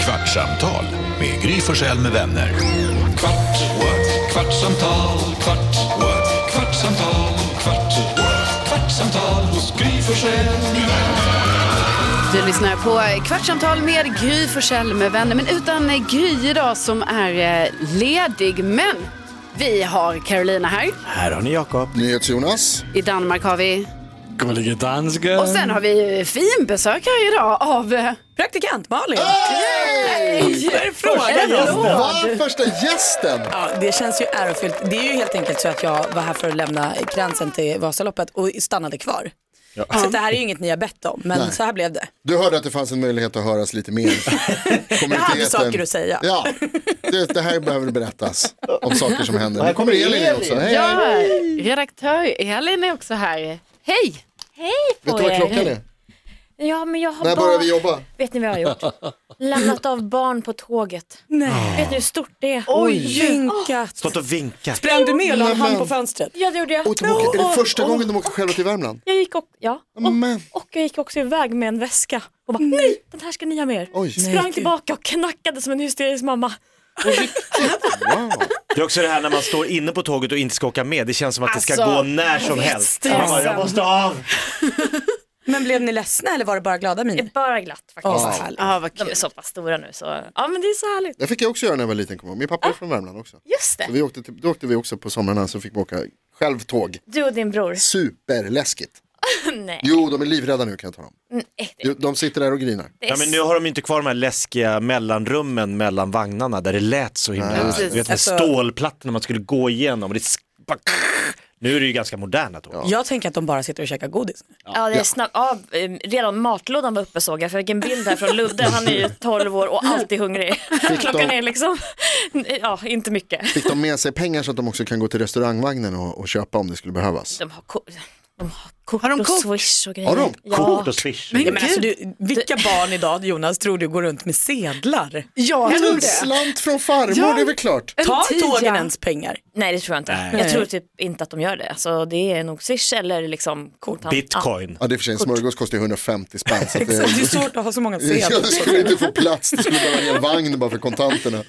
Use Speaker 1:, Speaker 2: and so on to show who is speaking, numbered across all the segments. Speaker 1: Kvartsamtal med Gry Forssell med vänner. Kvart, what? kvartsamtal, kvart, what? kvartsamtal, kvart, what? kvartsamtal hos Gry Forssell med vänner.
Speaker 2: Du lyssnar på Kvartsamtal med Gry Forssell med vänner. Men utan eh, Gry idag som är eh, ledig. Men vi har Carolina här.
Speaker 3: Här har ni Jakob.
Speaker 4: NyhetsJonas.
Speaker 2: I Danmark har vi.
Speaker 3: Gullige dansken.
Speaker 2: Och sen har vi eh, fin besök här idag av... eh,
Speaker 5: Praktikant Malin.
Speaker 2: Hej!
Speaker 5: Frågan
Speaker 4: Va? Första gästen!
Speaker 5: Ja, det känns ju ärofyllt. Det är ju helt enkelt så att jag var här för att lämna gränsen till Vasaloppet och stannade kvar. Så det här är ju inget ni har bett om, men så här blev det.
Speaker 4: Du hörde att det fanns en möjlighet att höras lite mer. Kommer
Speaker 5: Jag hade saker att säga.
Speaker 4: Ja, det, det här behöver berättas om saker som händer. Nu kommer Elin in också. Hej, hej.
Speaker 2: Ja, redaktör Elin är också här. Hej!
Speaker 6: Hej
Speaker 4: Vet
Speaker 6: på
Speaker 4: du vad
Speaker 6: er.
Speaker 4: klockan är?
Speaker 6: Ja, men jag har
Speaker 4: När
Speaker 6: bara...
Speaker 4: börjar vi jobba?
Speaker 6: Vet ni vad jag har gjort? Lämnat av barn på tåget.
Speaker 5: Nej.
Speaker 6: Vet ni hur stort det är?
Speaker 5: Vinkat.
Speaker 3: Stått och vinkat.
Speaker 5: Sprang du med och la en hand på fönstret?
Speaker 6: Ja, det gjorde jag.
Speaker 4: Och de åker, är
Speaker 6: Och-
Speaker 4: det första Mm.
Speaker 6: och-
Speaker 4: gången de åker själva till Värmland?
Speaker 6: Jag gick och, ja.
Speaker 4: Men,
Speaker 6: och jag gick också iväg med en väska och bara nej, den här ska ni ha med er.
Speaker 4: oj.
Speaker 6: Sprang tillbaka och knackade som en hysterisk mamma.
Speaker 4: Wow.
Speaker 3: Det är också det här när man står inne på tåget och inte ska åka med. Det känns som att det ska
Speaker 2: Alltså,
Speaker 3: gå när som helst.
Speaker 2: stressen.
Speaker 3: Man bara, jag måste av.
Speaker 5: Men blev ni ledsna eller var det bara glada
Speaker 6: Det är
Speaker 5: miner?
Speaker 6: bara glatt faktiskt.
Speaker 5: Åh, vad härligt.
Speaker 2: Ja, vad
Speaker 6: De
Speaker 2: kul.
Speaker 6: är så pass stora nu så, ja men det är så härligt.
Speaker 4: Det fick jag också göra när jag var liten. kommer jag ihåg. Min pappa är från Värmland också.
Speaker 6: Just
Speaker 4: Så
Speaker 6: det,
Speaker 4: vi åkte till, då åkte vi också på somrarna så fick vi åka själv tåg.
Speaker 6: du och din bror.
Speaker 4: Superläskigt.
Speaker 6: Nej,
Speaker 4: Jo, de är livrädda nu kan jag ta dem.
Speaker 6: nej, det
Speaker 4: Jo, De sitter där och grinar.
Speaker 6: det är
Speaker 3: Ja, men nu har de ju inte kvar de här läskiga mellanrummen mellan vagnarna där det lät så himla...
Speaker 2: precis.
Speaker 3: Du vet med
Speaker 5: Alltså-
Speaker 3: stålplattorna man skulle gå igenom. Och det sk- bara- nu är det ju ganska moderna tåg.
Speaker 5: Jag tänker att de bara sitter och käkar godis.
Speaker 6: Ja, det är snabbt. Ja, eh, redan matlådan var uppe såg jag. För jag fick en bild här från Ludde. Han är ju 12 år och alltid hungrig. Klockan
Speaker 4: de-
Speaker 6: är liksom, ja, inte mycket.
Speaker 4: Fick de med sig pengar så att de också kan gå till restaurangvagnen och, och köpa om det skulle behövas?
Speaker 6: De har, ko- de har kort
Speaker 2: Har de
Speaker 6: och
Speaker 2: kort?
Speaker 6: swish och grejer.
Speaker 4: Har de?
Speaker 3: Kort
Speaker 6: Ja.
Speaker 3: och swish.
Speaker 5: Ja, men alltså, du, vilka barn idag, Jonas, tror du går runt med sedlar?
Speaker 2: Jag tror
Speaker 4: En
Speaker 2: det.
Speaker 4: slant från farmor,
Speaker 2: Ja.
Speaker 4: det är väl klart.
Speaker 5: Tar
Speaker 2: tia.
Speaker 5: tågen ens pengar?
Speaker 6: Nej, det tror jag inte. Jag tror typ inte att de gör det. Alltså, det är nog swish eller liksom kontant.
Speaker 3: Bitcoin.
Speaker 4: Ja, det är för sig en smörgås kostar ju 150 spänn. Så att
Speaker 5: Det är
Speaker 4: det,
Speaker 5: ju svårt att ha så många
Speaker 4: jag
Speaker 5: sedlar.
Speaker 4: skulle inte få plats, det skulle behöva en hel vagn bara för kontanterna.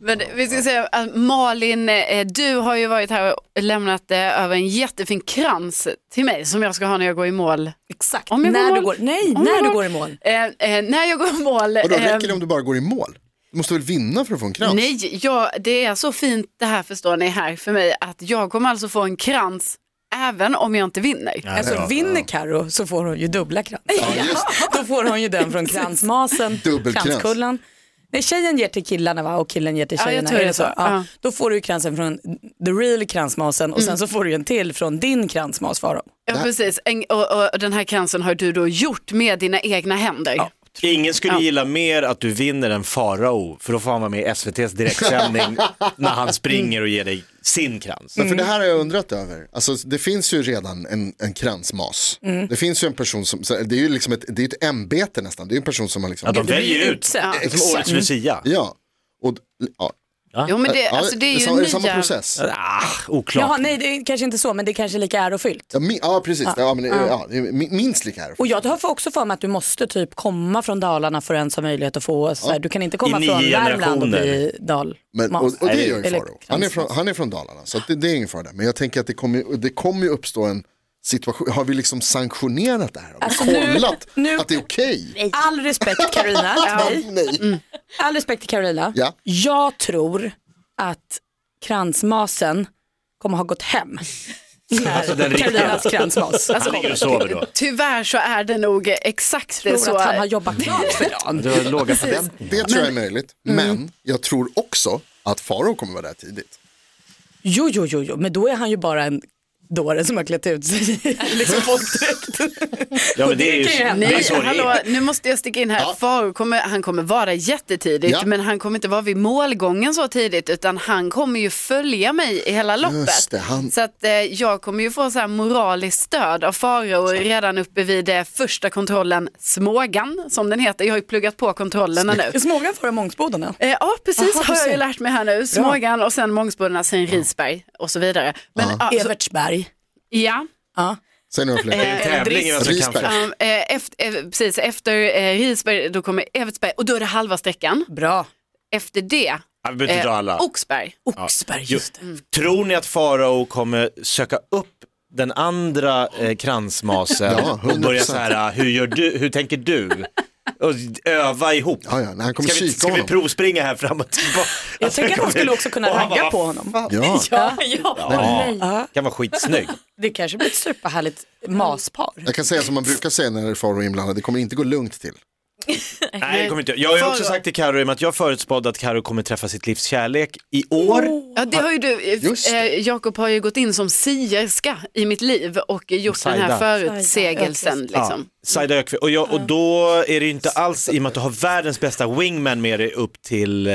Speaker 2: Men vi ska säga att Malin, eh, du har ju varit här och lämnat eh, över en jättefin krans till mig som jag ska ha när jag går i mål.
Speaker 5: Exakt,
Speaker 2: Om jag går i
Speaker 5: när du
Speaker 2: mål.
Speaker 5: går, nej,
Speaker 2: Om jag
Speaker 5: när du går i mål.
Speaker 2: Eh, eh, när jag går i mål.
Speaker 4: Och då
Speaker 2: eh,
Speaker 4: räcker det om du bara går i mål? Du måste väl vinna för att få en krans?
Speaker 2: Nej, jag, det är så fint det här förstår ni här för mig att jag kommer alltså få en krans även om jag inte vinner.
Speaker 5: Alltså vinner Karo så får hon ju dubbla krans.
Speaker 4: Ja, just det.
Speaker 5: Då får hon ju den från kransmasen,
Speaker 4: Dubbelkrans.
Speaker 5: kranskullan. Nej, tjejen ger till killarna va? och killen ger till
Speaker 2: Ja, jag
Speaker 5: tjejerna.
Speaker 2: tror
Speaker 5: Är
Speaker 2: det är så. Ja.
Speaker 5: Ja. Då får du ju kransen från the real kransmasen och
Speaker 4: Mm.
Speaker 5: sen så får du ju en till från din kransmas Faro.
Speaker 2: Ja, precis. En, och, och, och den här kransen har du då gjort med dina egna händer.
Speaker 3: Ingen skulle gilla mer att du vinner än Farao, för då får han vara med i SVTs direktsändning när han springer och ger dig sin krans.
Speaker 4: Men för det här har jag undrat över. Alltså, det finns ju redan en, en kransmas.
Speaker 2: Mm.
Speaker 4: Det finns ju en person som, så det är ju liksom ett, det är ett ämbete nästan. Det är ju en person som har liksom,
Speaker 3: Ja, de väljer ut
Speaker 5: utsedd.
Speaker 3: som
Speaker 4: Exakt.
Speaker 3: årets lucia.
Speaker 4: ja. Och, ja.
Speaker 2: Jo, men det,
Speaker 4: Ja,
Speaker 2: alltså, det är ju
Speaker 4: sam-
Speaker 2: nya...
Speaker 4: samma process.
Speaker 3: Ah,
Speaker 5: Jaha,
Speaker 3: oklart.
Speaker 5: nej det är kanske inte så men det är kanske lika ärofyllt.
Speaker 4: Ja, min, ja precis, ja, men, ja, det är min- minst lika här.
Speaker 5: Och jag har också för mig att du måste typ komma från Dalarna för att ens ha möjlighet att få, så här, du kan inte komma
Speaker 3: I nio
Speaker 5: från Värmland och
Speaker 3: generationer.
Speaker 5: bli dalmas.
Speaker 4: Men, och, och det
Speaker 3: Nej,
Speaker 4: gör ju
Speaker 5: eller
Speaker 4: Faro. Han är från, han är från Dalarna, så att det, det är ingen fara där. Men jag tänker att det kommer, ju- det kommer ju uppstå en situation, har vi liksom sanktionerat det här? Har vi
Speaker 5: Alltså, nu-
Speaker 4: kollat
Speaker 5: nu-
Speaker 4: att det är okej?
Speaker 5: All respekt Carolina, till dig.
Speaker 4: Nej.
Speaker 5: All respekt till Carolina.
Speaker 4: Ja.
Speaker 5: Jag tror att kransmasen kommer ha gått hem. Alltså
Speaker 3: den riktiga.
Speaker 5: Carolinas kransmas.
Speaker 3: Han ligger och sover då.
Speaker 2: Tyvärr så är det nog exakt det
Speaker 5: Jag tror
Speaker 2: så.
Speaker 5: att han har jobbat klart för dagen.
Speaker 3: Du har låga förväntningar.
Speaker 4: Det tror jag är möjligt.
Speaker 5: Mm.
Speaker 4: Men jag tror också att Faro kommer vara där tidigt.
Speaker 5: Jo, jo, jo, jo, men då är han ju bara en dåre som har klätt ut sig i liksom folkdräkt.
Speaker 3: Ja, men det är ju-
Speaker 5: kan ju hända.
Speaker 3: det är
Speaker 2: Nej,
Speaker 3: så det
Speaker 2: hallå,
Speaker 3: är.
Speaker 2: nu måste jag sticka in här.
Speaker 4: Ja.
Speaker 2: Faro kommer, han kommer vara jättetidigt,
Speaker 4: Ja.
Speaker 2: men han kommer inte vara vid målgången så tidigt, utan han kommer ju följa mig i hela loppet.
Speaker 4: det, han-
Speaker 2: Så att eh, jag kommer ju få så här moraliskt stöd av Faro redan uppe vid eh, första kontrollen, Smågan, som den heter. Jag har ju pluggat på kontrollerna nu.
Speaker 5: Smågan före Mångsbodarna.
Speaker 2: Eh, Ja, precis
Speaker 5: Aha, du
Speaker 2: har jag ju
Speaker 5: ser.
Speaker 2: lärt mig här nu. Smågan och sen Mångsbodarna, sen Risberg och så vidare. Men, ja, så,
Speaker 5: Evertsberg.
Speaker 2: ja.
Speaker 5: Ja.
Speaker 4: Säg några
Speaker 5: Eh.
Speaker 4: fler.
Speaker 3: en tävling i vem som kan
Speaker 4: Risberg.
Speaker 3: flest.
Speaker 2: Ja, eh, efter, eh, precis, efter eh, Risberg då kommer Evertsberg och då är det halva sträckan.
Speaker 5: Bra.
Speaker 2: Efter det, Eh,
Speaker 3: Ja, Vi behöver inte dra alla.
Speaker 2: Oxberg.
Speaker 5: Oxberg, Eh, just det. Mm.
Speaker 3: Tror ni att Farao kommer söka upp den andra eh, kransmasen
Speaker 4: Ja,
Speaker 3: och börja
Speaker 4: 100%.
Speaker 3: så här, hur, gör du, hur tänker du? Och öva ihop.
Speaker 4: Ja, ja, när han kommer
Speaker 3: Ska vi,
Speaker 4: kika
Speaker 3: ska vi
Speaker 4: honom.
Speaker 3: provspringa här fram och tillbaka? Alltså,
Speaker 5: Jag tänker att han skulle också kunna ragga på honom.
Speaker 4: Ja.
Speaker 5: Ja,
Speaker 3: Ja, kan vara skitsnygg.
Speaker 5: det kanske blir ett superhärligt maspar.
Speaker 4: Jag kan säga som man brukar säga när Farao är inblandad, det kommer inte gå lugnt till.
Speaker 3: Nej, det kommer inte. Jag har ju också sagt till Karo i och med att jag förutspådde att Karo kommer träffa sitt livs kärlek i år.
Speaker 5: Oh.
Speaker 2: Ja, det har ju du, eh,
Speaker 4: Just det.
Speaker 2: eh, Jakob har ju gått in som sierska i mitt liv och gjort den
Speaker 3: Saida.
Speaker 2: här förutsägelsen.
Speaker 5: Saida,
Speaker 2: Liksom.
Speaker 3: Saida Ökvist. Och, jag, och då är det ju inte alls, i och med att du har världens bästa wingman med dig upp till eh,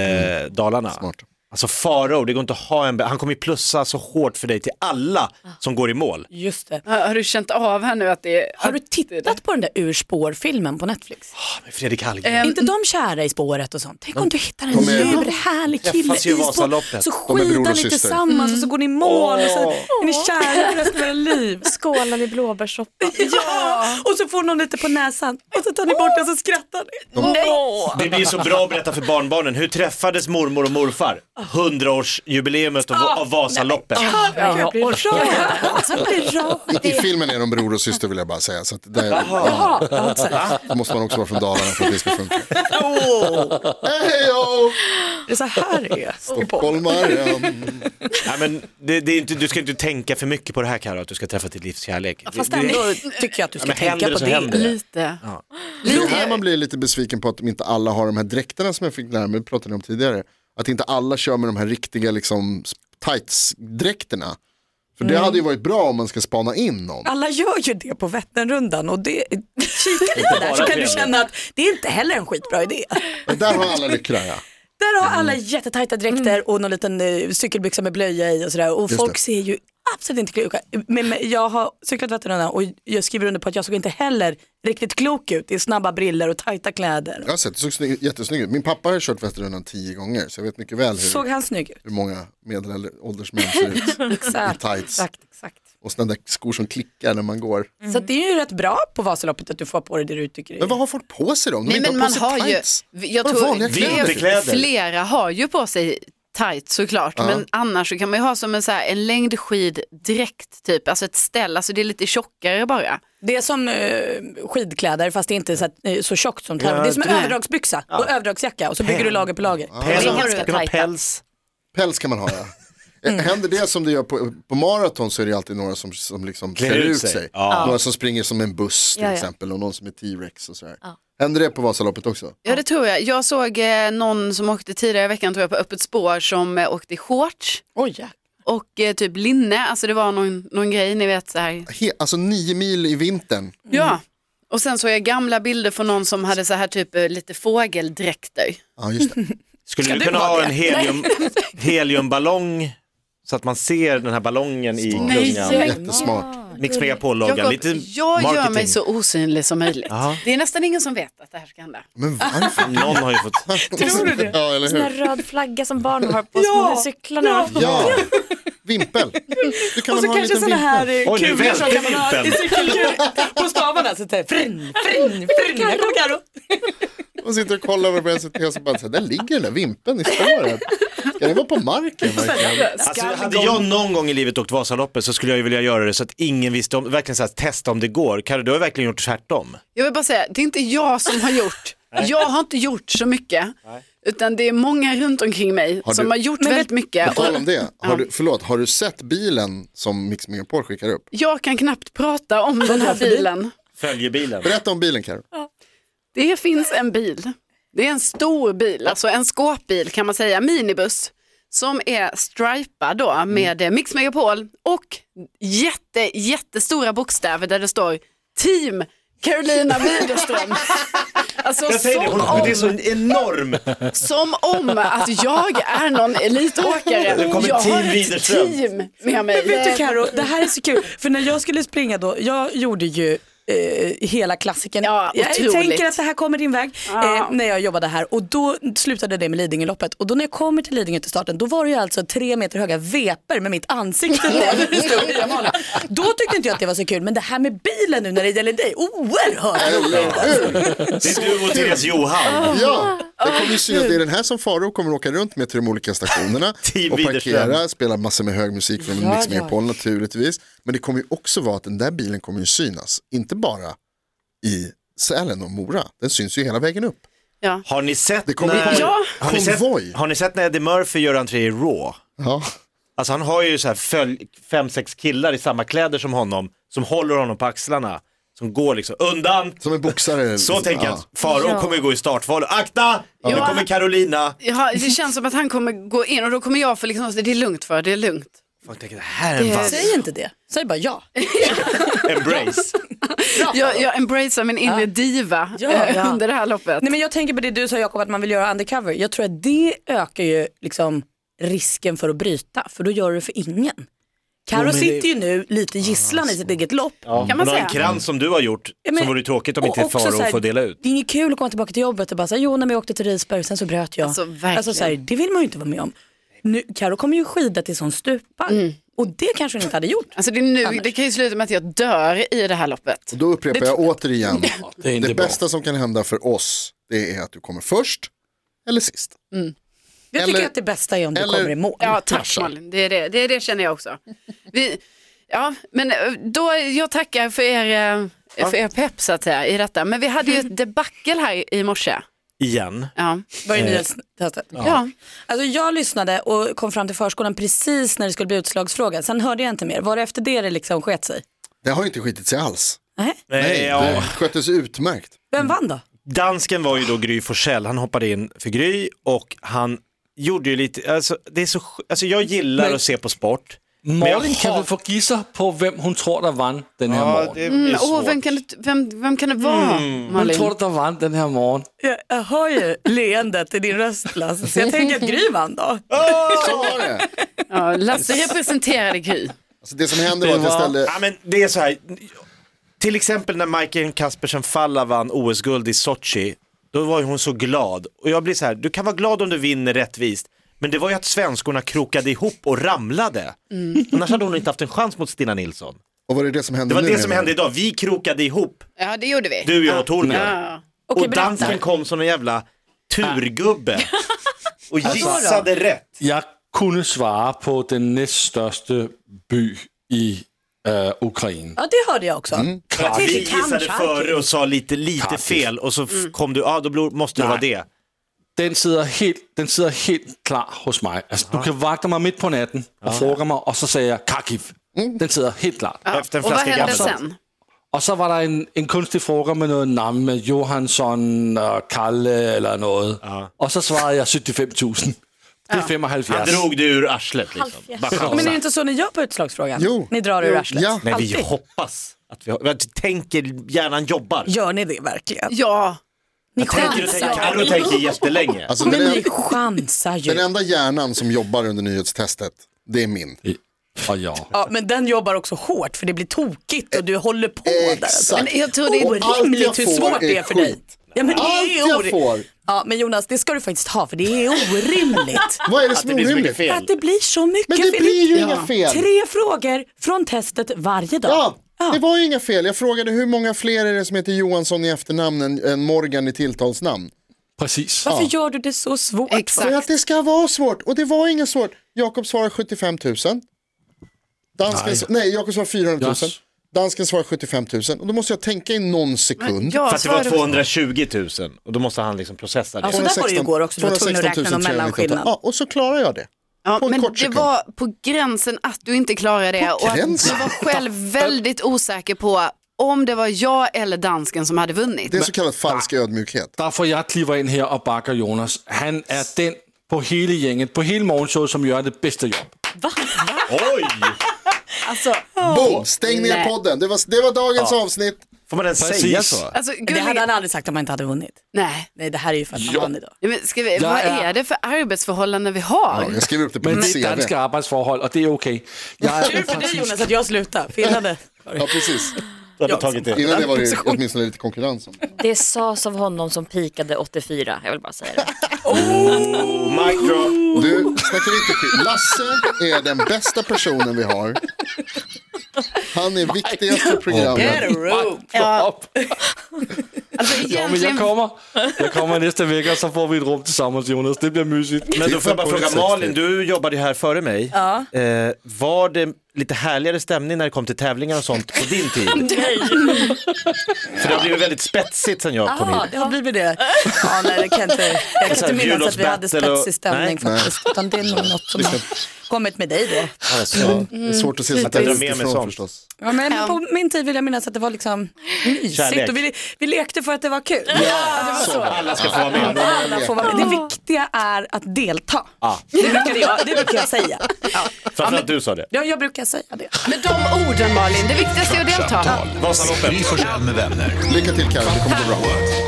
Speaker 3: Dalarna.
Speaker 4: Smart.
Speaker 3: Alltså Farao, det går inte att ha en, han kommer ju plussa så hårt för dig till alla som går i mål.
Speaker 5: Just det.
Speaker 2: Har, har du känt av här nu att det är...
Speaker 5: Har du tittat på den där Ur spår-filmen på Netflix?
Speaker 3: Ah, men Fredrik Hallgren.
Speaker 5: Är inte de kära i spåret och sånt? Tänk om du hittar en
Speaker 4: de är-
Speaker 5: djurhärlig kille i
Speaker 3: träffas ju i
Speaker 5: spår.
Speaker 3: Vasaloppet.
Speaker 5: Så
Speaker 4: De är bror och
Speaker 5: skidar ni
Speaker 4: syster.
Speaker 5: tillsammans och så går ni i mål och så
Speaker 3: Åh.
Speaker 5: är ni kära för resten av era liv.
Speaker 6: Skålar i blåbärssoppa.
Speaker 5: Ja! Och så får någon lite på näsan och så tar ni bort den och så skrattar ni.
Speaker 3: Det blir så bra att berätta för barnbarnen. Hur träffades mormor och morfar? Hundraårsjubileumet av, av Vasaloppet.
Speaker 5: Ja, jag blir rörd. Jag blir rörd.
Speaker 4: I filmen är de bror och syster vill jag bara säga. Så att det, ja,
Speaker 5: Ja, alltså.
Speaker 4: då måste man också vara från Dalarna för att det ska funka. Hej då!
Speaker 5: Det är så här det är.
Speaker 4: Stockholmaren.
Speaker 3: Nej, men det, det är inte, du ska inte tänka för mycket på det här Karo, att du ska träffa ditt livs kärlek.
Speaker 2: Fast
Speaker 3: Det- det-
Speaker 2: ändå
Speaker 5: tycker jag att du
Speaker 3: Ja,
Speaker 5: ska
Speaker 3: men
Speaker 5: tänka
Speaker 3: händer
Speaker 5: på
Speaker 3: det så
Speaker 5: det.
Speaker 3: händer det.
Speaker 2: lite.
Speaker 4: Det är här man blir lite besviken på att inte alla har de här dräkterna som jag fick lära mig, det pratade ni om tidigare. Att inte alla kör med de här riktiga liksom, tights-dräkterna. För
Speaker 5: Mm.
Speaker 4: det hade ju varit bra om man ska spana in någon.
Speaker 5: Alla gör ju det på Vätternrundan och det, kika lite där så kan du
Speaker 3: Fredrik.
Speaker 5: känna att det är inte heller en skitbra idé.
Speaker 4: Men där har alla lyckra ja.
Speaker 5: Där har alla
Speaker 4: Mm.
Speaker 5: jättetajta dräkter och någon liten eh, cykelbyxa med blöja i och sådär. Och
Speaker 4: Just
Speaker 5: folk
Speaker 4: det.
Speaker 5: ser ju absolut inte kloka men, men jag har cyklat Vätternrundan och jag skriver under på att jag såg inte heller riktigt klok ut i snabba briller och tajta kläder.
Speaker 4: Jag har sett, det såg snygg, jättesnygg ut. Min pappa har kört Vätternrundan tio gånger så jag vet mycket väl
Speaker 5: Såg
Speaker 4: hur,
Speaker 5: han snygg ut?
Speaker 4: hur många medelålders män ser ut.
Speaker 5: Exakt.
Speaker 4: tights.
Speaker 5: exakt, exakt.
Speaker 4: Och sådana där skor som klickar när man går.
Speaker 5: Så att det är ju rätt bra på Vasaloppet att du får på dig det du tycker är
Speaker 4: Men vad har folk på sig då? Om de
Speaker 2: Nej
Speaker 4: inte
Speaker 2: men man
Speaker 4: har på sig
Speaker 2: har ju,
Speaker 4: tights?
Speaker 2: jag
Speaker 4: Bara
Speaker 2: tror
Speaker 4: vanliga kläder.
Speaker 2: flera, flera har ju på sig tights såklart, men annars så kan man ju ha som en, så här, en längdskiddräkt typ, alltså ett ställ, alltså det är lite tjockare bara.
Speaker 5: Det är som eh, skidkläder fast det är inte så, att, eh, så tjockt som tävling. Det är som en
Speaker 2: Nej.
Speaker 5: överdragsbyxa och överdragsjacka och så bygger du lager på lager.
Speaker 3: Päls,
Speaker 6: Det är
Speaker 3: det
Speaker 6: ganska
Speaker 3: kan vara
Speaker 6: tajta.
Speaker 3: päls.
Speaker 4: Päls kan man ha ja. Händer det som det gör på, på maraton så är det ju alltid några som, som liksom klär ut sig.
Speaker 3: Ja.
Speaker 4: Några som springer som en buss till
Speaker 6: Ja, ja.
Speaker 4: exempel och någon som är T-rex och sådär. Händer det på Vasaloppet också?
Speaker 2: Ja det tror jag. Jag såg eh, någon som åkte tidigare i veckan tror jag på Öppet spår som eh, åkte i shorts
Speaker 5: Oj, ja.
Speaker 2: och eh, typ linne, alltså det var någon, någon grej ni vet så här.
Speaker 4: He, alltså nio mil i vintern.
Speaker 2: Ja, och sen såg jag gamla bilder från någon som hade så här typ eh, lite fågeldräkter.
Speaker 4: Ja just det.
Speaker 3: Skulle du kunna ha en helium, heliumballong så att man ser den här ballongen i gungan?
Speaker 4: Jättesmart.
Speaker 3: Mix Megapol-loggan,
Speaker 2: Jakob,
Speaker 3: lite
Speaker 2: jag
Speaker 3: marketing.
Speaker 2: gör mig så osynlig som möjligt.
Speaker 3: Ja.
Speaker 2: Det är nästan ingen som vet att det här ska hända.
Speaker 4: Men varför?
Speaker 3: Någon har ju fått...
Speaker 4: Tror du det? Ja eller
Speaker 6: Sån här
Speaker 4: hur?
Speaker 6: röd flagga som barn har på små cyklarna.
Speaker 4: Ja, vimpel. Du kan
Speaker 5: Och
Speaker 4: väl
Speaker 5: så
Speaker 4: ha en
Speaker 5: kanske
Speaker 4: liten
Speaker 5: sådana
Speaker 4: vimpel.
Speaker 5: här eh,
Speaker 3: Oj, nu
Speaker 5: kulor som
Speaker 3: välte
Speaker 5: kan man ha i
Speaker 3: vimpeln.
Speaker 5: cykelkul på stavarna. Så där, frin, frin, frin. Här kommer Karo.
Speaker 4: Och sitter och kollar vad det börjar se och så bara, så här, där ligger den där vimpeln i spåret. Ska den vara på marken verkligen?
Speaker 3: Alltså, hade jag någon gång i livet åkt Vasaloppet så skulle jag ju vilja göra det så att ingen visste om, verkligen så här, testa om det går. Karo, du har verkligen gjort tvärtom.
Speaker 2: Jag vill bara säga, det är inte jag som har gjort. jag har inte gjort så mycket. Utan det är många runt omkring mig
Speaker 4: Har
Speaker 2: som
Speaker 4: du-
Speaker 2: har gjort väldigt mycket.
Speaker 4: På tal
Speaker 2: Och
Speaker 4: om det, har du, förlåt, har du sett bilen som Mix Megapol skickar upp?
Speaker 2: jag kan knappt prata om den här bilen.
Speaker 3: Följebilen.
Speaker 4: Berätta om bilen Karo.
Speaker 2: Det finns en bil. Det är en stor bil, alltså en skåpbil kan man säga, minibuss. Som är stripad då
Speaker 3: Mm.
Speaker 2: med eh, Mix Megapol och jätte, jättestora bokstäver där det står Team Carolina Widerström. Alltså
Speaker 3: Jag säger det,
Speaker 2: som
Speaker 3: hon, det är
Speaker 2: om,
Speaker 3: så enorm.
Speaker 2: som om att jag är någon elitåkare.
Speaker 3: Det kommer
Speaker 2: Jag
Speaker 3: Team
Speaker 2: har ett
Speaker 3: Widerström.
Speaker 2: team med mig.
Speaker 5: Vet du Karo, det här är så kul. För när jag skulle springa då, jag gjorde ju eh, hela klassiken.
Speaker 2: Ja,
Speaker 5: jag
Speaker 2: otroligt.
Speaker 5: tänker att det här kommer din väg.
Speaker 2: Ja.
Speaker 5: Eh, när jag jobbade här och då slutade det med Lidingöloppet och då när jag kommer till Lidingö till starten då var det ju alltså tre meter höga veper med mitt ansikte på när det stod fyra mål. Då tyckte inte jag att det var så kul men det här med bilen nu när det gäller dig, oerhört roligt.
Speaker 4: Eller hur?
Speaker 3: Det är du och Therese Johan.
Speaker 4: Ja, det kommer ju synas. Det är den här som Faro kommer åka runt med till de olika stationerna
Speaker 3: Till
Speaker 4: och parkera,
Speaker 3: Widerström.
Speaker 4: spela massor med hög musik från
Speaker 5: Ja,
Speaker 4: Mix
Speaker 5: ja.
Speaker 4: Megapol naturligtvis. Men det kommer ju också vara att den där bilen kommer ju synas, inte bara i Sälen och Mora, den syns ju hela vägen upp.
Speaker 2: Ja.
Speaker 3: Har ni sett
Speaker 4: Det kommer
Speaker 3: när...
Speaker 4: ju
Speaker 2: Ja.
Speaker 3: Har ni, sett,
Speaker 4: konvoj.
Speaker 3: har ni sett när Eddie Murphy gör entré i Raw?
Speaker 4: Ja.
Speaker 3: Alltså han har ju så här följ, fem, sex killar i samma kläder som honom, som håller honom på axlarna, som går liksom undan.
Speaker 4: Som en boxare.
Speaker 3: Så tänker jag
Speaker 4: ja.
Speaker 3: att Farao
Speaker 6: Ja.
Speaker 3: kommer ju gå i startval. Akta! Nu
Speaker 2: Ja.
Speaker 3: kommer Carolina.
Speaker 2: Ja, det känns som att han kommer gå in och då kommer jag för liksom, det är lugnt för det är lugnt.
Speaker 3: Folk tänker det här är en
Speaker 2: Det-
Speaker 3: vass
Speaker 5: Säg inte det, säg bara ja.
Speaker 3: embrace.
Speaker 2: Jag, jag embracear min inre diva
Speaker 5: Ja,
Speaker 2: eh,
Speaker 5: ja.
Speaker 2: under det här loppet.
Speaker 5: Nej men jag tänker på det du sa Jakob att man vill göra undercover. Jag tror att det ökar ju liksom risken för att bryta för då gör du det för ingen. Karo
Speaker 3: men det-
Speaker 5: sitter ju nu lite gisslan i sitt eget lopp.
Speaker 2: Kan man
Speaker 3: Hon har en
Speaker 2: säga.
Speaker 3: krans som du har gjort,
Speaker 5: Ja, men-
Speaker 3: som vore tråkigt om
Speaker 5: och
Speaker 3: inte
Speaker 5: också så här,
Speaker 3: Farao får dela ut.
Speaker 5: Det är inget kul att komma tillbaka till jobbet och bara säga jo när jag åkte till Risberg sen så bröt jag.
Speaker 2: Alltså, verkligen.
Speaker 5: så här, det vill man ju inte vara med om. Nu, Karo kommer ju skida tills hon stupar och det kanske hon inte hade gjort.
Speaker 2: Alltså det, är nu, det kan ju sluta med att jag dör i det här loppet.
Speaker 4: Och då upprepar jag återigen,
Speaker 7: Det är inte
Speaker 4: det
Speaker 7: bra.
Speaker 4: bästa som kan hända för oss, det är att du kommer först eller sist.
Speaker 5: Jag
Speaker 4: Eller-
Speaker 5: tycker att det bästa är om du
Speaker 4: eller-
Speaker 5: kommer i mål.
Speaker 2: Ja, tack
Speaker 4: Krascha.
Speaker 2: Malin. Det är det, det, är det känner jag också. Vi, ja, men eh, då, jag tackar för er, eh, för er pepp så att säga, i detta. Men vi hade ju
Speaker 3: Mm.
Speaker 2: ett debacle här i morse.
Speaker 3: Igen.
Speaker 2: Ja.
Speaker 5: Vad är
Speaker 4: Eh.
Speaker 5: nyhetstestet?
Speaker 2: Ja.
Speaker 5: Alltså jag lyssnade och kom fram till förskolan precis när det skulle bli utslagsfråga. Sen hörde jag inte mer. Var det efter det det liksom sket sig?
Speaker 4: Det har ju inte skitit sig alls.
Speaker 5: Nej.
Speaker 4: Nej,
Speaker 3: Nej, Eh, ja.
Speaker 4: det sköttes utmärkt.
Speaker 5: Vem vann då?
Speaker 3: Dansken var ju då Gry Forssell, han hoppade in för Gry och han gjorde ju lite, alltså, det är så, sj- alltså jag gillar att se på sport. men jag
Speaker 7: Malin kan
Speaker 3: har-
Speaker 7: väl få gissa på vem hon tror der vann den här morgen.
Speaker 3: det är
Speaker 2: Mm,
Speaker 3: svårt. Mm,
Speaker 2: åh, vem, kan det, vem, vem kan det vara,
Speaker 7: Hon
Speaker 2: Malin?
Speaker 7: tror der vann den här morgen.
Speaker 5: Jag, hör ju leendet i din röst Lasse, så jag tänker att Gry vann då.
Speaker 4: Så var det.
Speaker 2: Ja, Lasse representerade Gry.
Speaker 4: Alltså det som hände var att jag ställde,
Speaker 3: Ja, men det är så här. Till exempel när Majken Kaspersen Falla vann OS-guld i Sochi, då var ju hon så glad. Och jag blir så här, du kan vara glad om du vinner rättvist, men det var ju att svenskorna krokade ihop och ramlade.
Speaker 4: Mm.
Speaker 3: Annars hade hon inte haft en chans mot Stina Nilsson.
Speaker 4: och var det det som hände
Speaker 3: Det var
Speaker 4: nu?
Speaker 3: det som
Speaker 4: menar
Speaker 3: hände idag, vi krokade ihop,
Speaker 2: Ja, det gjorde vi.
Speaker 3: du, jag och Torbjörn.
Speaker 2: Ja.
Speaker 5: Okej,
Speaker 3: Och
Speaker 5: berätta.
Speaker 3: dansken kom som en jävla turgubbe och gissade rätt.
Speaker 7: Jeg kunne svare på den næststørste by i øh, Ukraine.
Speaker 5: Ja det hörde jag också.
Speaker 4: Mm.
Speaker 3: För att vi
Speaker 5: Kharkiv.
Speaker 3: gissade
Speaker 5: Kharkiv.
Speaker 3: före och sa lite, lite
Speaker 7: Kharkiv.
Speaker 3: fel och så f-
Speaker 5: Mm.
Speaker 3: kom du, ja då blir- måste det vara det.
Speaker 7: Den sidder helt, den sidder helt klar hos mig. Altså, du kan vakte mig midt på natten og fråga mig, og så sagde jeg Kharkiv. Den sidder helt klart.
Speaker 3: Efter en
Speaker 2: Och vad
Speaker 3: flaska
Speaker 2: hände
Speaker 3: gammel.
Speaker 2: sen?
Speaker 7: Og så var der en, en kunstig frokost med noget nam med Johansson og Kalle eller noget. Og så svarede jeg 75.000. Det er 75.
Speaker 3: Han drog det ur arslet liksom. Bara chansa.
Speaker 5: Men är det inte så ni gör på utslagsfrågan?
Speaker 4: Jo.
Speaker 5: Ni drar ur arslet?
Speaker 4: Ja.
Speaker 3: Nej, vi
Speaker 5: Alltid.
Speaker 3: hoppas att vi har, vi tänker, hjärnan jobbar.
Speaker 5: Gör ni det verkligen?
Speaker 2: Ja,
Speaker 5: Ni
Speaker 3: Tänker och tänker,
Speaker 5: chansar.
Speaker 3: Carro tänker jättelänge.
Speaker 4: Alltså
Speaker 5: Men
Speaker 4: den,
Speaker 5: ni
Speaker 4: en,
Speaker 5: chansar
Speaker 4: den
Speaker 5: ju.
Speaker 4: enda hjärnan som jobbar under nyhetstestet, det är min.
Speaker 7: Og ja.
Speaker 5: Ja, men den jobbar också hårt för det blir tokigt och du håller på där. alltså.
Speaker 4: Exakt.
Speaker 2: Men jag tror det är
Speaker 4: Och allt jag
Speaker 5: Orimligt hur
Speaker 4: får
Speaker 5: svårt det är för
Speaker 4: skit.
Speaker 5: dig. Ja, men det
Speaker 4: Allt
Speaker 5: är
Speaker 4: jag
Speaker 5: orim-
Speaker 4: får.
Speaker 5: Ja, men Jonas, det ska du faktiskt ha för det är orimligt.
Speaker 4: Vad är det
Speaker 3: Att
Speaker 4: som
Speaker 3: det
Speaker 4: är
Speaker 3: blir så mycket
Speaker 4: orimligt?
Speaker 3: fel.
Speaker 5: Att det blir så mycket
Speaker 4: Men det
Speaker 5: Filip.
Speaker 4: blir ju inga fel.
Speaker 5: Tre frågor från testet varje dag.
Speaker 4: Ja, det var ju inga fel. Jag frågade hur många fler är det som heter Johansson i efternamn än- än Morgan i tilltalsnamn?
Speaker 7: Præcis.
Speaker 5: Varför gör du det så svårt?
Speaker 2: Exakt.
Speaker 4: För att det ska vara svårt, och det var inget svårt. Jakob svarar 75 000. Dansken, nej. nej, Jakob svarar 400 000.
Speaker 7: Yes.
Speaker 4: Dansken svarar 75 000. Och då måste jag tänka i någon sekund.
Speaker 2: jag
Speaker 3: För att det var
Speaker 2: svarade-
Speaker 3: 220 000 och då måste han liksom processa det.
Speaker 4: Alltså-
Speaker 5: Ja, så där var det ju igår också. Du var tvungen att räkna
Speaker 4: 216
Speaker 5: någon
Speaker 4: 398.
Speaker 5: mellanskillnad.
Speaker 4: Ja, och så klarar jag det.
Speaker 2: Ja,
Speaker 4: på en
Speaker 2: men
Speaker 4: kort
Speaker 2: det
Speaker 4: sekund.
Speaker 2: var på gränsen att du inte klarade det och att du
Speaker 4: gränsen?
Speaker 2: var själv väldigt osäker på om det var jag eller dansken som hade vunnit.
Speaker 4: Det är så kallat falsk ödmjukhet.
Speaker 7: Der får jeg kliver ind her og bakker Jonas. Han er den på hele gænget, på hele morgenshowet, som gør det bedste job.
Speaker 3: Oj!
Speaker 5: Alltså,
Speaker 4: Boom, stäng ner
Speaker 2: Nej.
Speaker 4: podden. Det var, det var dagens avsnitt.
Speaker 3: Får man ens
Speaker 7: Precis.
Speaker 3: säga så?
Speaker 2: Alltså,
Speaker 5: det
Speaker 2: gulliga...
Speaker 5: hade han aldrig sagt om han inte hade vunnit.
Speaker 2: Nej.
Speaker 5: Nej, det här är ju för att han vann idag.
Speaker 2: Ja, Men ska vi, vad
Speaker 7: är-
Speaker 2: är det för arbetsförhållanden vi har?
Speaker 4: Ja, jag skriver upp det på
Speaker 7: Men
Speaker 4: mitt
Speaker 7: det er
Speaker 4: CV.
Speaker 7: danske arbejdsforhold, og det er okay. Jeg er
Speaker 5: Tur för dig
Speaker 7: upraktisk.
Speaker 5: Jonas att jag slutar, för jag hade...
Speaker 4: Ja, precis.
Speaker 3: Du hade tagit det.
Speaker 4: Innan det var det åtminstone lite konkurrens om det.
Speaker 6: Det sas av honom som pikade 84, jag vill bara säga det.
Speaker 3: Mic drop.
Speaker 4: Du, snackar inte skit. Lasse är den bästa personen vi har. Han är viktigast för programmet.
Speaker 2: Alltså
Speaker 7: Ja, men
Speaker 2: egentligen,
Speaker 7: jeg kommer. Jeg kommer næste væk, og så får vi et rum til sammen, Jonas. Det bliver mysigt.
Speaker 3: Men då får jag bara fråga Malin, du jobbade ju här före mig. Eh, var det lite härligare stämning när det kom till tävlingar och sånt på din tid? För det har blivit väldigt spetsigt sen jag kom
Speaker 5: Ja,
Speaker 3: hit.
Speaker 5: det har blivit det. Ja, nej, det kan jag inte, jag kan
Speaker 3: Så här,
Speaker 5: inte minnas att vi hade
Speaker 3: jullåtsbattle och-
Speaker 5: spetsig stämning
Speaker 3: Alltså, Nej.
Speaker 5: faktiskt. Utan det är nog något som har kommit med dig då.
Speaker 3: Alltså,
Speaker 4: Det är svårt att se sånt
Speaker 3: Jag drar med
Speaker 4: där
Speaker 3: mig sånt.
Speaker 4: utifrån förstås.
Speaker 5: Ja, men På min tid vill jag minnas att det var liksom mysigt
Speaker 3: Kärlek.
Speaker 5: och vi, vi lekte för att det var kul.
Speaker 3: Så, Alltså, alla ska få vara med.
Speaker 5: Alla får vara med. Det viktiga är att delta. Det, brukar jag, det brukar jag säga. Ja.
Speaker 3: Framförallt du sa det.
Speaker 5: Ja, jag brukar säga det.
Speaker 2: med de orden Malin, det viktigaste är att delta.
Speaker 1: Kvartsamtal.
Speaker 3: Vasaloppet.
Speaker 1: Gry Forssell med vänner.
Speaker 4: Lycka till Carro, det kommer gå bra.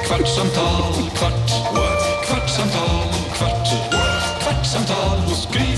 Speaker 1: Kvartsamtal, kvart, what? kvartsamtal, kvart, what? kvartsamtal hos Gry